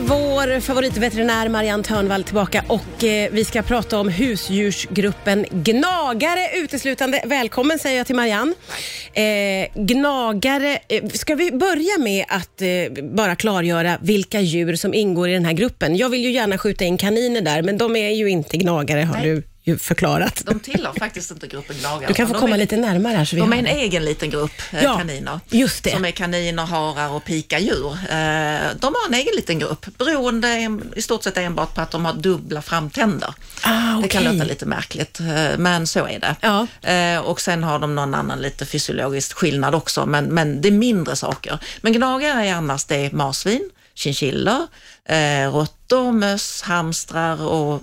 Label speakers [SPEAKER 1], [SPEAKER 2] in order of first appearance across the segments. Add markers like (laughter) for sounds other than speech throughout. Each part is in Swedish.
[SPEAKER 1] vår favoritveterinär Marianne Törnvall tillbaka och eh, vi ska prata om husdjursgruppen gnagare uteslutande. Välkommen säger jag till Marianne. Eh, gnagare, eh, ska vi börja med att eh, bara klargöra vilka djur som ingår i den här gruppen? Jag vill ju gärna skjuta in kaniner där, men de är ju inte gnagare har
[SPEAKER 2] Nej.
[SPEAKER 1] du ju förklarat.
[SPEAKER 2] De tillhör faktiskt inte gruppen gnagare.
[SPEAKER 1] Du kan få
[SPEAKER 2] utan de
[SPEAKER 1] komma
[SPEAKER 2] är,
[SPEAKER 1] lite närmare här. Så vi
[SPEAKER 2] De är
[SPEAKER 1] hör.
[SPEAKER 2] en egen liten grupp eh,
[SPEAKER 1] Ja,
[SPEAKER 2] kaniner.
[SPEAKER 1] just det.
[SPEAKER 2] Som är kaniner, harar och pikadjur. Eh, De har en egen liten grupp, beroende en- i stort sett enbart på att de har dubbla framtänder.
[SPEAKER 1] Ah,
[SPEAKER 2] Det kan
[SPEAKER 1] okej.
[SPEAKER 2] låta lite märkligt, eh, men så är det.
[SPEAKER 1] Ja.
[SPEAKER 2] Eh, Och sen har de någon annan lite fysiologisk skillnad också, men, men det är mindre saker. Men gnagare är annars det är marsvin, chinchillor, eh, råttor, möss, hamstrar och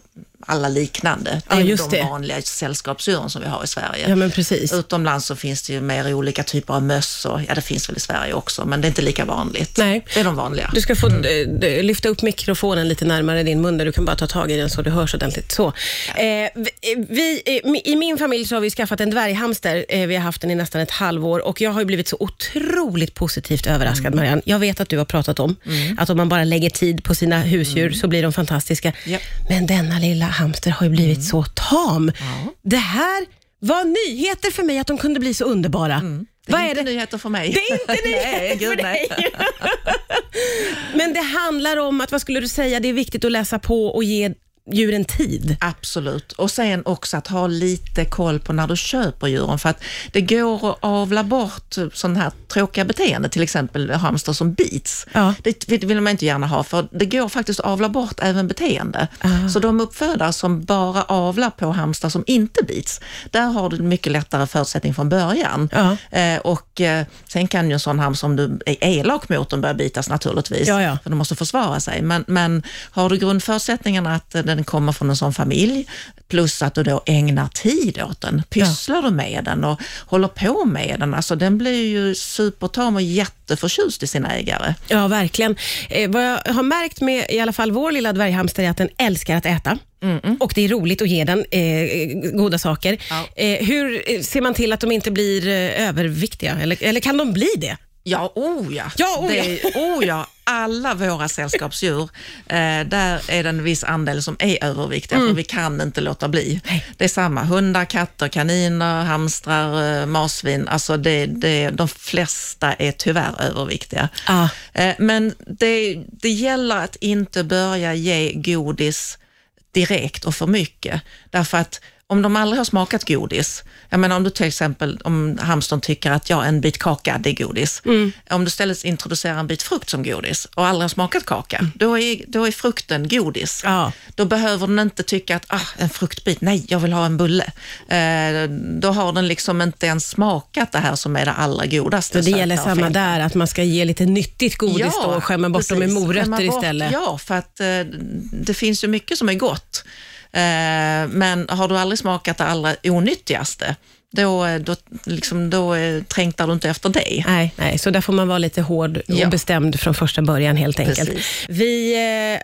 [SPEAKER 2] alla liknande. Det
[SPEAKER 1] Ja,
[SPEAKER 2] är ju
[SPEAKER 1] just
[SPEAKER 2] de
[SPEAKER 1] det.
[SPEAKER 2] vanliga sällskapsdjuren som vi har i Sverige.
[SPEAKER 1] Ja, men precis.
[SPEAKER 2] Utomlands så finns det ju mer olika typer av möss och ja, det finns väl i Sverige också, men det är inte lika vanligt.
[SPEAKER 1] Nej.
[SPEAKER 2] Det är de vanliga.
[SPEAKER 1] Du ska få eh, d- lyfta upp mikrofonen lite närmare din mun, där du kan bara ta tag i den så det hörs ordentligt. Så. Eh, vi- vi, eh, mi- I min familj så har vi skaffat en dvärghamster. Eh, vi har haft den i nästan ett halvår och jag har ju blivit så otroligt positivt överraskad, Marianne. Jag vet att du har pratat om att om man bara lägger tid på sina husdjur så blir de fantastiska.
[SPEAKER 2] Japp.
[SPEAKER 1] Men denna lilla hamster har ju blivit så tam. Det här var nyheter för mig, att de kunde bli så underbara. Vad är
[SPEAKER 2] inte
[SPEAKER 1] det?
[SPEAKER 2] nyheter för mig.
[SPEAKER 1] Det är inte nyheter (laughs)
[SPEAKER 2] (laughs) nej,
[SPEAKER 1] för
[SPEAKER 2] gud, nej.
[SPEAKER 1] dig. (laughs) Men det handlar om att, vad skulle du säga, det är viktigt att läsa på och ge djuren tid.
[SPEAKER 2] Absolut. Och sen också att ha lite koll på när du köper djuren, för att det går att avla bort sådana här tråkiga beteenden, till exempel hamster som bits.
[SPEAKER 1] Ja.
[SPEAKER 2] Det vill man inte gärna ha, för det går faktiskt att avla bort även beteende.
[SPEAKER 1] Ah.
[SPEAKER 2] Så de uppfödare som bara avlar på hamster som inte bits, där har du mycket lättare förutsättning från början.
[SPEAKER 1] Ja.
[SPEAKER 2] Eh, och eh, sen kan ju en sån hamster, om du är elak mot den, börja bitas naturligtvis,
[SPEAKER 1] Ja, ja.
[SPEAKER 2] för de måste försvara sig. Men, men har du grundförutsättningarna att eh, den kommer från en sån familj, plus att du då ägnar tid åt den, pysslar du med den och håller på med den, alltså den blir ju supertam och jätteförtjust i sin ägare.
[SPEAKER 1] Ja, verkligen. Eh, vad jag har märkt med i alla fall vår lilla dvärghamster är att den älskar att äta. Och det är roligt att ge den eh, goda saker.
[SPEAKER 2] Ja.
[SPEAKER 1] Eh, hur eh, ser man till att de inte blir eh, överviktiga? Eller, eller kan de bli det?
[SPEAKER 2] Ja, oh ja.
[SPEAKER 1] Ja, oh ja.
[SPEAKER 2] Det, oh ja. Alla våra sällskapsdjur, eh, där är det en viss andel som är överviktiga,
[SPEAKER 1] Mm.
[SPEAKER 2] för vi kan inte låta bli. Det är samma, hundar, katter, kaniner, hamstrar, eh, marsvin, alltså det, det, de flesta är tyvärr överviktiga.
[SPEAKER 1] Ah.
[SPEAKER 2] Eh, men det, det gäller att inte börja ge godis direkt och för mycket. Därför att om de aldrig har smakat godis, jag menar om du till exempel, om hamstern tycker att ja, en bit kaka, det är godis.
[SPEAKER 1] Mm.
[SPEAKER 2] Om du istället introducerar en bit frukt som godis och aldrig har smakat kaka, då, är, då är frukten godis.
[SPEAKER 1] Ja.
[SPEAKER 2] Då behöver den inte tycka att ah, en fruktbit, nej, jag vill ha en bulle. Eh, då har den liksom inte ens smakat det här som är det allra godaste.
[SPEAKER 1] Så det gäller
[SPEAKER 2] söta och
[SPEAKER 1] samma
[SPEAKER 2] feta.
[SPEAKER 1] där, att man ska ge lite nyttigt godis då och skämma bort dem med
[SPEAKER 2] precis.
[SPEAKER 1] morötter
[SPEAKER 2] Skämma bort-
[SPEAKER 1] istället.
[SPEAKER 2] Ja, för att eh, det finns ju mycket som är gott. Eh, men har du aldrig smakat det allra onyttigaste, då, eh, då, liksom, då eh, trängtar du inte efter det.
[SPEAKER 1] Nej, nej, så där får man vara lite hård och
[SPEAKER 2] Ja.
[SPEAKER 1] bestämd från första början helt enkelt.
[SPEAKER 2] Precis.
[SPEAKER 1] Vi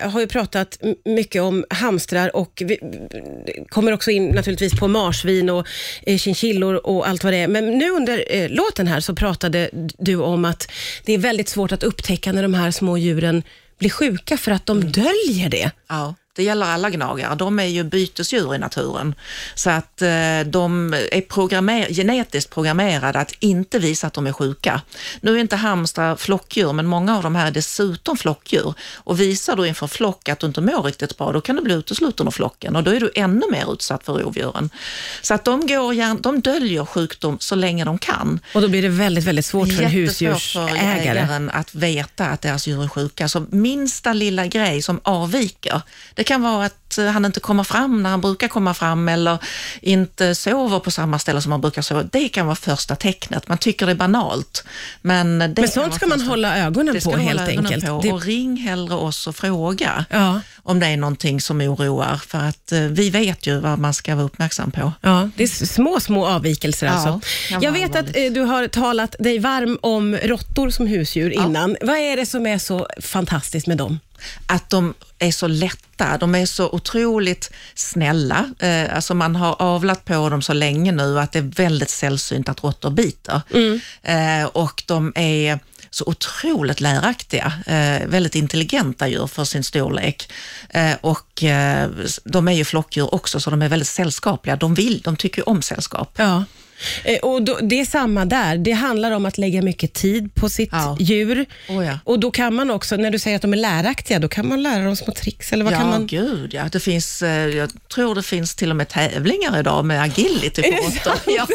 [SPEAKER 1] eh, har ju pratat m- mycket om hamstrar och vi m- kommer också in naturligtvis på marsvin och eh, chinchillor och allt vad det är. Men nu under eh, låten här så pratade du om att det är väldigt svårt att upptäcka när de här små djuren blir sjuka för att de
[SPEAKER 2] Mm.
[SPEAKER 1] döljer det.
[SPEAKER 2] Ja, det gäller alla gnagare. De är ju bytesdjur i naturen. Så att eh, de är programmer- genetiskt programmerade att inte visa att de är sjuka. Nu är inte hamstrar flockdjur, men många av de här är dessutom flockdjur. Och visar du inför flock att du inte mår riktigt bra, då kan du bli utesluten ur flocken och då är du ännu mer utsatt för rovdjuren. Så att de, går, gärna- de döljer sjukdom så länge de kan.
[SPEAKER 1] Och då blir det väldigt, väldigt svårt för en
[SPEAKER 2] Jättesvårt för
[SPEAKER 1] husdjursägare.
[SPEAKER 2] ägaren att veta att deras djur är sjuka. Så minsta lilla grej som avviker, det kan vara att eh, han inte kommer fram när han brukar komma fram eller inte sover på samma ställe som han brukar sova. Det kan vara första tecknet. Man tycker det är banalt. Men, det
[SPEAKER 1] Men
[SPEAKER 2] kan
[SPEAKER 1] sånt
[SPEAKER 2] vara
[SPEAKER 1] ska man
[SPEAKER 2] första-
[SPEAKER 1] hålla ögonen
[SPEAKER 2] det ska
[SPEAKER 1] på
[SPEAKER 2] du hålla
[SPEAKER 1] helt
[SPEAKER 2] ögonen
[SPEAKER 1] enkelt.
[SPEAKER 2] På.
[SPEAKER 1] Det-
[SPEAKER 2] Och ring hellre oss och fråga
[SPEAKER 1] Ja.
[SPEAKER 2] om det är någonting som oroar, för att eh, vi vet ju vad man ska vara uppmärksam på.
[SPEAKER 1] Ja, det är s- små, små avvikelser
[SPEAKER 2] Ja,
[SPEAKER 1] alltså.
[SPEAKER 2] kan
[SPEAKER 1] Jag
[SPEAKER 2] vara
[SPEAKER 1] vet att
[SPEAKER 2] allvarligt.
[SPEAKER 1] eh, du har talat dig varm om råttor som husdjur innan. Vad är det som är så fantastiskt med dem?
[SPEAKER 2] att de är så lätta. De är så otroligt snälla. Eh, alltså man har avlat på dem så länge nu att det är väldigt sällsynt att råttor biter. Eh, och de är så otroligt läraktiga, eh, väldigt intelligenta djur för sin storlek. Eh, och eh, de är ju flockdjur också, så de är väldigt sällskapliga. De vill, de tycker ju om sällskap.
[SPEAKER 1] Ja. Eh, Och då, det är samma där. Det handlar om att lägga mycket tid på sitt
[SPEAKER 2] Ja.
[SPEAKER 1] djur.
[SPEAKER 2] Oh ja.
[SPEAKER 1] Och då kan man också, när du säger att de är läraktiga, då kan man lära dem små tricks. Eller vad
[SPEAKER 2] ja,
[SPEAKER 1] kan man...
[SPEAKER 2] gud ja. Det finns, eh, jag tror det finns till och med tävlingar idag med agility på råttor. (laughs) Ja.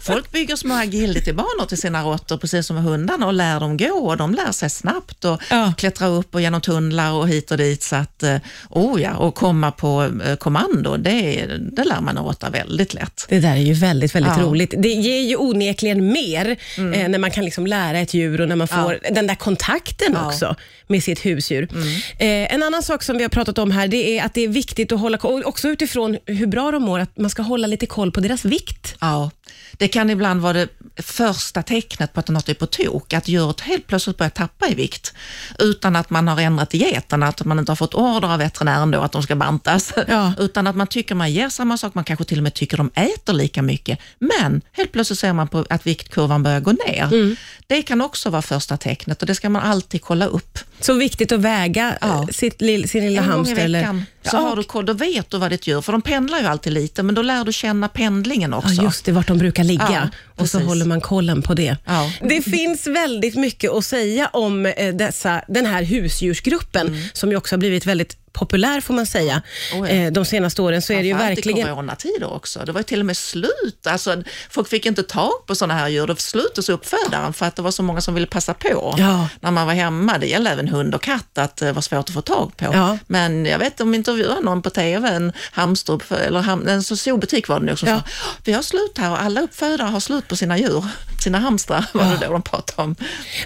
[SPEAKER 2] Folk bygger små agility-banor till sina råttor, precis som med hundarna, och lär dem gå och de lär sig snabbt och
[SPEAKER 1] Ja.
[SPEAKER 2] klättra upp och genom tunnlar och hit och dit. Så att, eh, oh ja, och komma på eh, kommando, det, är- det lär man en råtta väldigt lätt.
[SPEAKER 1] Det där är ju väldigt, väldigt
[SPEAKER 2] Ja. Mm.
[SPEAKER 1] roligt. Det ger ju onekligen mer eh, när man kan liksom lära ett djur och när man får den där kontakten också med sitt husdjur.
[SPEAKER 2] Mm.
[SPEAKER 1] Eh, en annan sak som vi har pratat om här, det är att det är viktigt att hålla koll, också utifrån hur bra de mår, att man ska hålla lite koll på deras vikt.
[SPEAKER 2] Ja, det kan ibland vara det första tecknet på att något är på tok, att djuret helt plötsligt börjar tappa i vikt utan att man har ändrat dieten, att man inte har fått order av veterinären då att de ska bantas,
[SPEAKER 1] Ja.
[SPEAKER 2] (laughs) utan att man tycker man ger samma sak, man kanske till och med tycker de äter lika mycket, men helt plötsligt ser man på att viktkurvan börjar gå ner.
[SPEAKER 1] Mm.
[SPEAKER 2] Det kan också vara första tecknet och det ska man alltid kolla upp.
[SPEAKER 1] Så viktigt att väga
[SPEAKER 2] Ja.
[SPEAKER 1] eh, sitt, lill- sin lilla
[SPEAKER 2] En gång i
[SPEAKER 1] hamster.
[SPEAKER 2] veckan
[SPEAKER 1] Eller,
[SPEAKER 2] så
[SPEAKER 1] Ja,
[SPEAKER 2] har du, koll- då vet du vad ditt djur, för de pendlar ju alltid lite, men då lär du känna pendlingen också.
[SPEAKER 1] Ja, just det, vart de brukar ligga.
[SPEAKER 2] Ja,
[SPEAKER 1] och så
[SPEAKER 2] precis.
[SPEAKER 1] håller man kollen på det.
[SPEAKER 2] Ja.
[SPEAKER 1] Det finns väldigt mycket att säga om eh, dessa, den här husdjursgruppen,
[SPEAKER 2] Mm.
[SPEAKER 1] som ju också har blivit väldigt populär får man säga.
[SPEAKER 2] Oh, ja.
[SPEAKER 1] Eh, De senaste åren så är det ju
[SPEAKER 2] Framförallt
[SPEAKER 1] verkligen...
[SPEAKER 2] i coronatider också. Det var ju till och med slut. Alltså, folk fick inte tag på sådana här djur. Det slutades uppfödaren för att det var så många som ville passa på
[SPEAKER 1] Ja.
[SPEAKER 2] när man var hemma. Det gällde även hund och katt, att det var svårt att få tag på.
[SPEAKER 1] Ja.
[SPEAKER 2] Men jag vet, om vi intervjuade någon på TV, en hamster, eller ham, en zoobutik var det nog, som
[SPEAKER 1] Ja.
[SPEAKER 2] sa vi har slut här och alla uppfödare har slut på sina djur, sina hamstrar, (laughs) var det då de pratade om.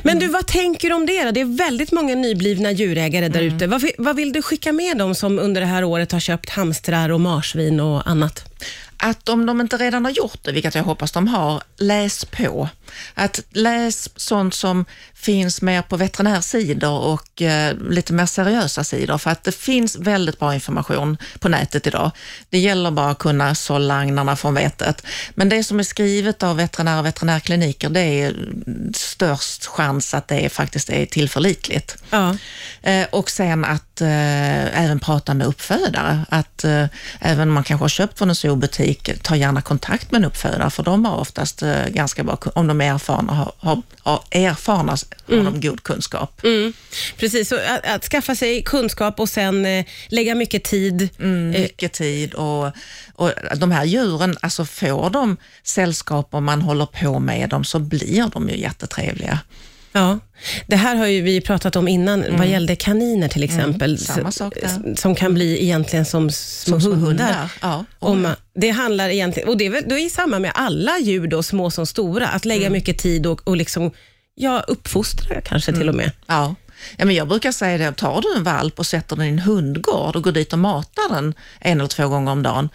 [SPEAKER 1] Men
[SPEAKER 2] Mm.
[SPEAKER 1] du, vad tänker du om det då? Det är väldigt många nyblivna djurägare där
[SPEAKER 2] Mm.
[SPEAKER 1] ute. Vad, fi- vad vill du skicka med dem som under det här året har köpt hamstrar och marsvin och annat?
[SPEAKER 2] att om de inte redan har gjort det, vilket jag hoppas de har, läs på. Att läs sånt som finns mer på veterinärsidor och eh, lite mer seriösa sidor, för att det finns väldigt bra information på nätet idag. Det gäller bara att kunna sålla agnarna från vetet. Men det som är skrivet av veterinärer och veterinärkliniker, det är störst chans att det faktiskt är tillförlitligt.
[SPEAKER 1] Ja.
[SPEAKER 2] Eh, Och sen att eh, även prata med uppfödare. Att eh, även om man kanske har köpt från en zoobutik, ta gärna kontakt med en uppfödare, för de har oftast eh, ganska bra, kun- om de är erfarna, har, har, har erfarna, så har de god kunskap.
[SPEAKER 1] Mm. Precis, så att, att skaffa sig kunskap och sen eh, lägga mycket tid.
[SPEAKER 2] Mm, Mycket tid och, och de här djuren, alltså får de sällskap och man håller på med dem så blir de ju jättetrevliga.
[SPEAKER 1] Ja. Det här har ju vi pratat om innan vad gällde kaniner till exempel.
[SPEAKER 2] Mm. samma sak där.
[SPEAKER 1] S- Som kan bli egentligen som små hundar.
[SPEAKER 2] Ja. Och
[SPEAKER 1] Om man, det handlar egentligen, och det är, väl, då är det samma med alla djur då, små som stora, att lägga
[SPEAKER 2] Mm.
[SPEAKER 1] mycket tid och, och liksom, ja, uppfostra kanske till
[SPEAKER 2] Mm.
[SPEAKER 1] och med.
[SPEAKER 2] Ja. Ja, men jag brukar säga det, tar du en valp och sätter den i en hundgård och går dit och matar den en eller två gånger om dagen,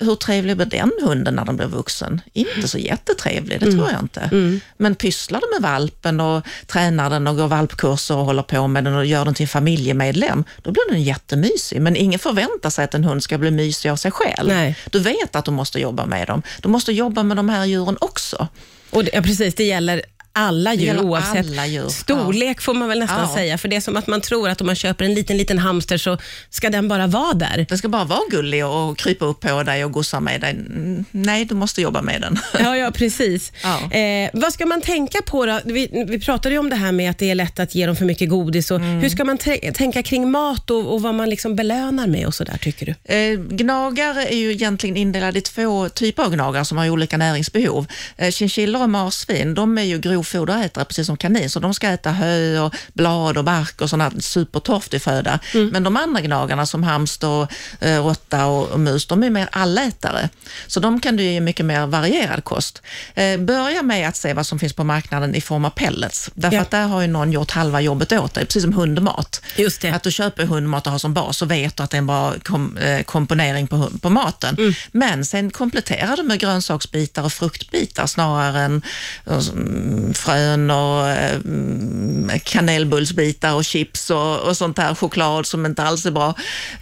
[SPEAKER 2] hur trevlig blir den hunden när den blir vuxen? Inte så jättetrevlig, det tror jag inte. Men pysslar du med valpen och tränar den och går valpkurser och håller på med den och gör den till en familjemedlem, då blir den jättemysig. Men ingen förväntar sig att en hund ska bli mysig av sig själv.
[SPEAKER 1] Nej.
[SPEAKER 2] Du vet att du måste jobba med dem. Du måste jobba med de här djuren också.
[SPEAKER 1] Och det, ja, precis, det gäller alla djur
[SPEAKER 2] gäller
[SPEAKER 1] oavsett
[SPEAKER 2] alla djur, ja.
[SPEAKER 1] storlek får man väl nästan
[SPEAKER 2] Ja.
[SPEAKER 1] säga. För det är som att man tror att om man köper en liten, liten hamster så ska den bara vara där.
[SPEAKER 2] Den ska bara vara gullig och krypa upp på dig och gossa med dig. Mm, Nej, du måste jobba med den.
[SPEAKER 1] Ja, ja precis.
[SPEAKER 2] Ja.
[SPEAKER 1] Eh, vad ska man tänka på då? Vi, vi pratade ju om det här med att det är lätt att ge dem för mycket godis. Och
[SPEAKER 2] Mm.
[SPEAKER 1] Hur ska man tre- tänka kring mat och, och vad man liksom belönar med och sådär tycker du?
[SPEAKER 2] Eh, gnagare är ju egentligen indelade i två typer av gnagare som har olika näringsbehov. Eh, Chinchillor och marsvin, de är ju grovfoderätare precis som kanin, så de ska äta hö och blad och bark och sådana supertorftig föda.
[SPEAKER 1] Mm.
[SPEAKER 2] Men de andra gnagarna som hamster, och, eh, råtta och, och mus, de är mer allätare. Så de kan du ge mycket mer varierad kost. Eh, börja med att se vad som finns på marknaden i form av pellets, därför
[SPEAKER 1] Ja.
[SPEAKER 2] att där har ju någon gjort halva jobbet åt dig, precis som hundmat.
[SPEAKER 1] Just det.
[SPEAKER 2] Att du köper hundmat och har som bas så vet du att det är en bra kom, eh, komponering på, hu- på maten. Men sen kompletterar du med grönsaksbitar och fruktbitar snarare än eh, mm, frön och eh, mm, kanelbullsbitar och chips och, och sånt här, choklad som inte alls är bra.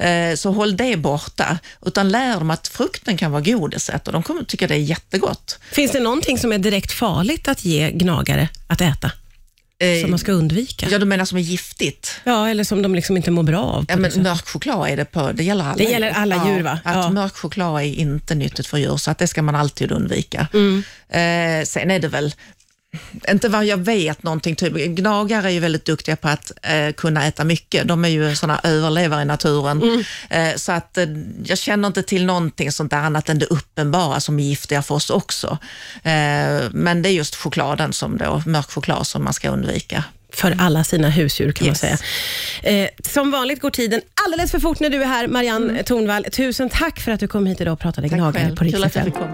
[SPEAKER 2] Eh, så håll det borta, utan lär dem att frukten kan vara godiset och de kommer tycka det är jättegott.
[SPEAKER 1] Finns det någonting som är direkt farligt att ge gnagare att äta?
[SPEAKER 2] Eh,
[SPEAKER 1] Som man ska undvika.
[SPEAKER 2] Ja, du menar som är giftigt?
[SPEAKER 1] Ja, eller som de liksom inte mår bra av.
[SPEAKER 2] Ja, men mörk choklad är det på, det gäller alla
[SPEAKER 1] Det gäller alla djur, va?
[SPEAKER 2] Att
[SPEAKER 1] Ja.
[SPEAKER 2] mörk choklad är inte nyttigt för djur, så att det ska man alltid undvika.
[SPEAKER 1] Mm.
[SPEAKER 2] Eh, sen är det väl, inte vad jag vet någonting, typ, gnagare är ju väldigt duktiga på att eh, kunna äta mycket. De är ju sådana överlevare i naturen.
[SPEAKER 1] Mm.
[SPEAKER 2] Eh, så att eh, jag känner inte till någonting sånt där annat än det uppenbara som är giftiga för oss också. Eh, men det är just chokladen, som då, mörk choklad, som man ska undvika.
[SPEAKER 1] för alla sina husdjur kan man
[SPEAKER 2] Yes.
[SPEAKER 1] säga. Eh, som vanligt går tiden alldeles för fort när du är här, Marianne Tornvall. Tusen tack för att du kom hit idag och pratade gnagare
[SPEAKER 2] Mm. själv.
[SPEAKER 1] på Rix
[SPEAKER 2] Kul att jag
[SPEAKER 1] FM.
[SPEAKER 2] fick komma.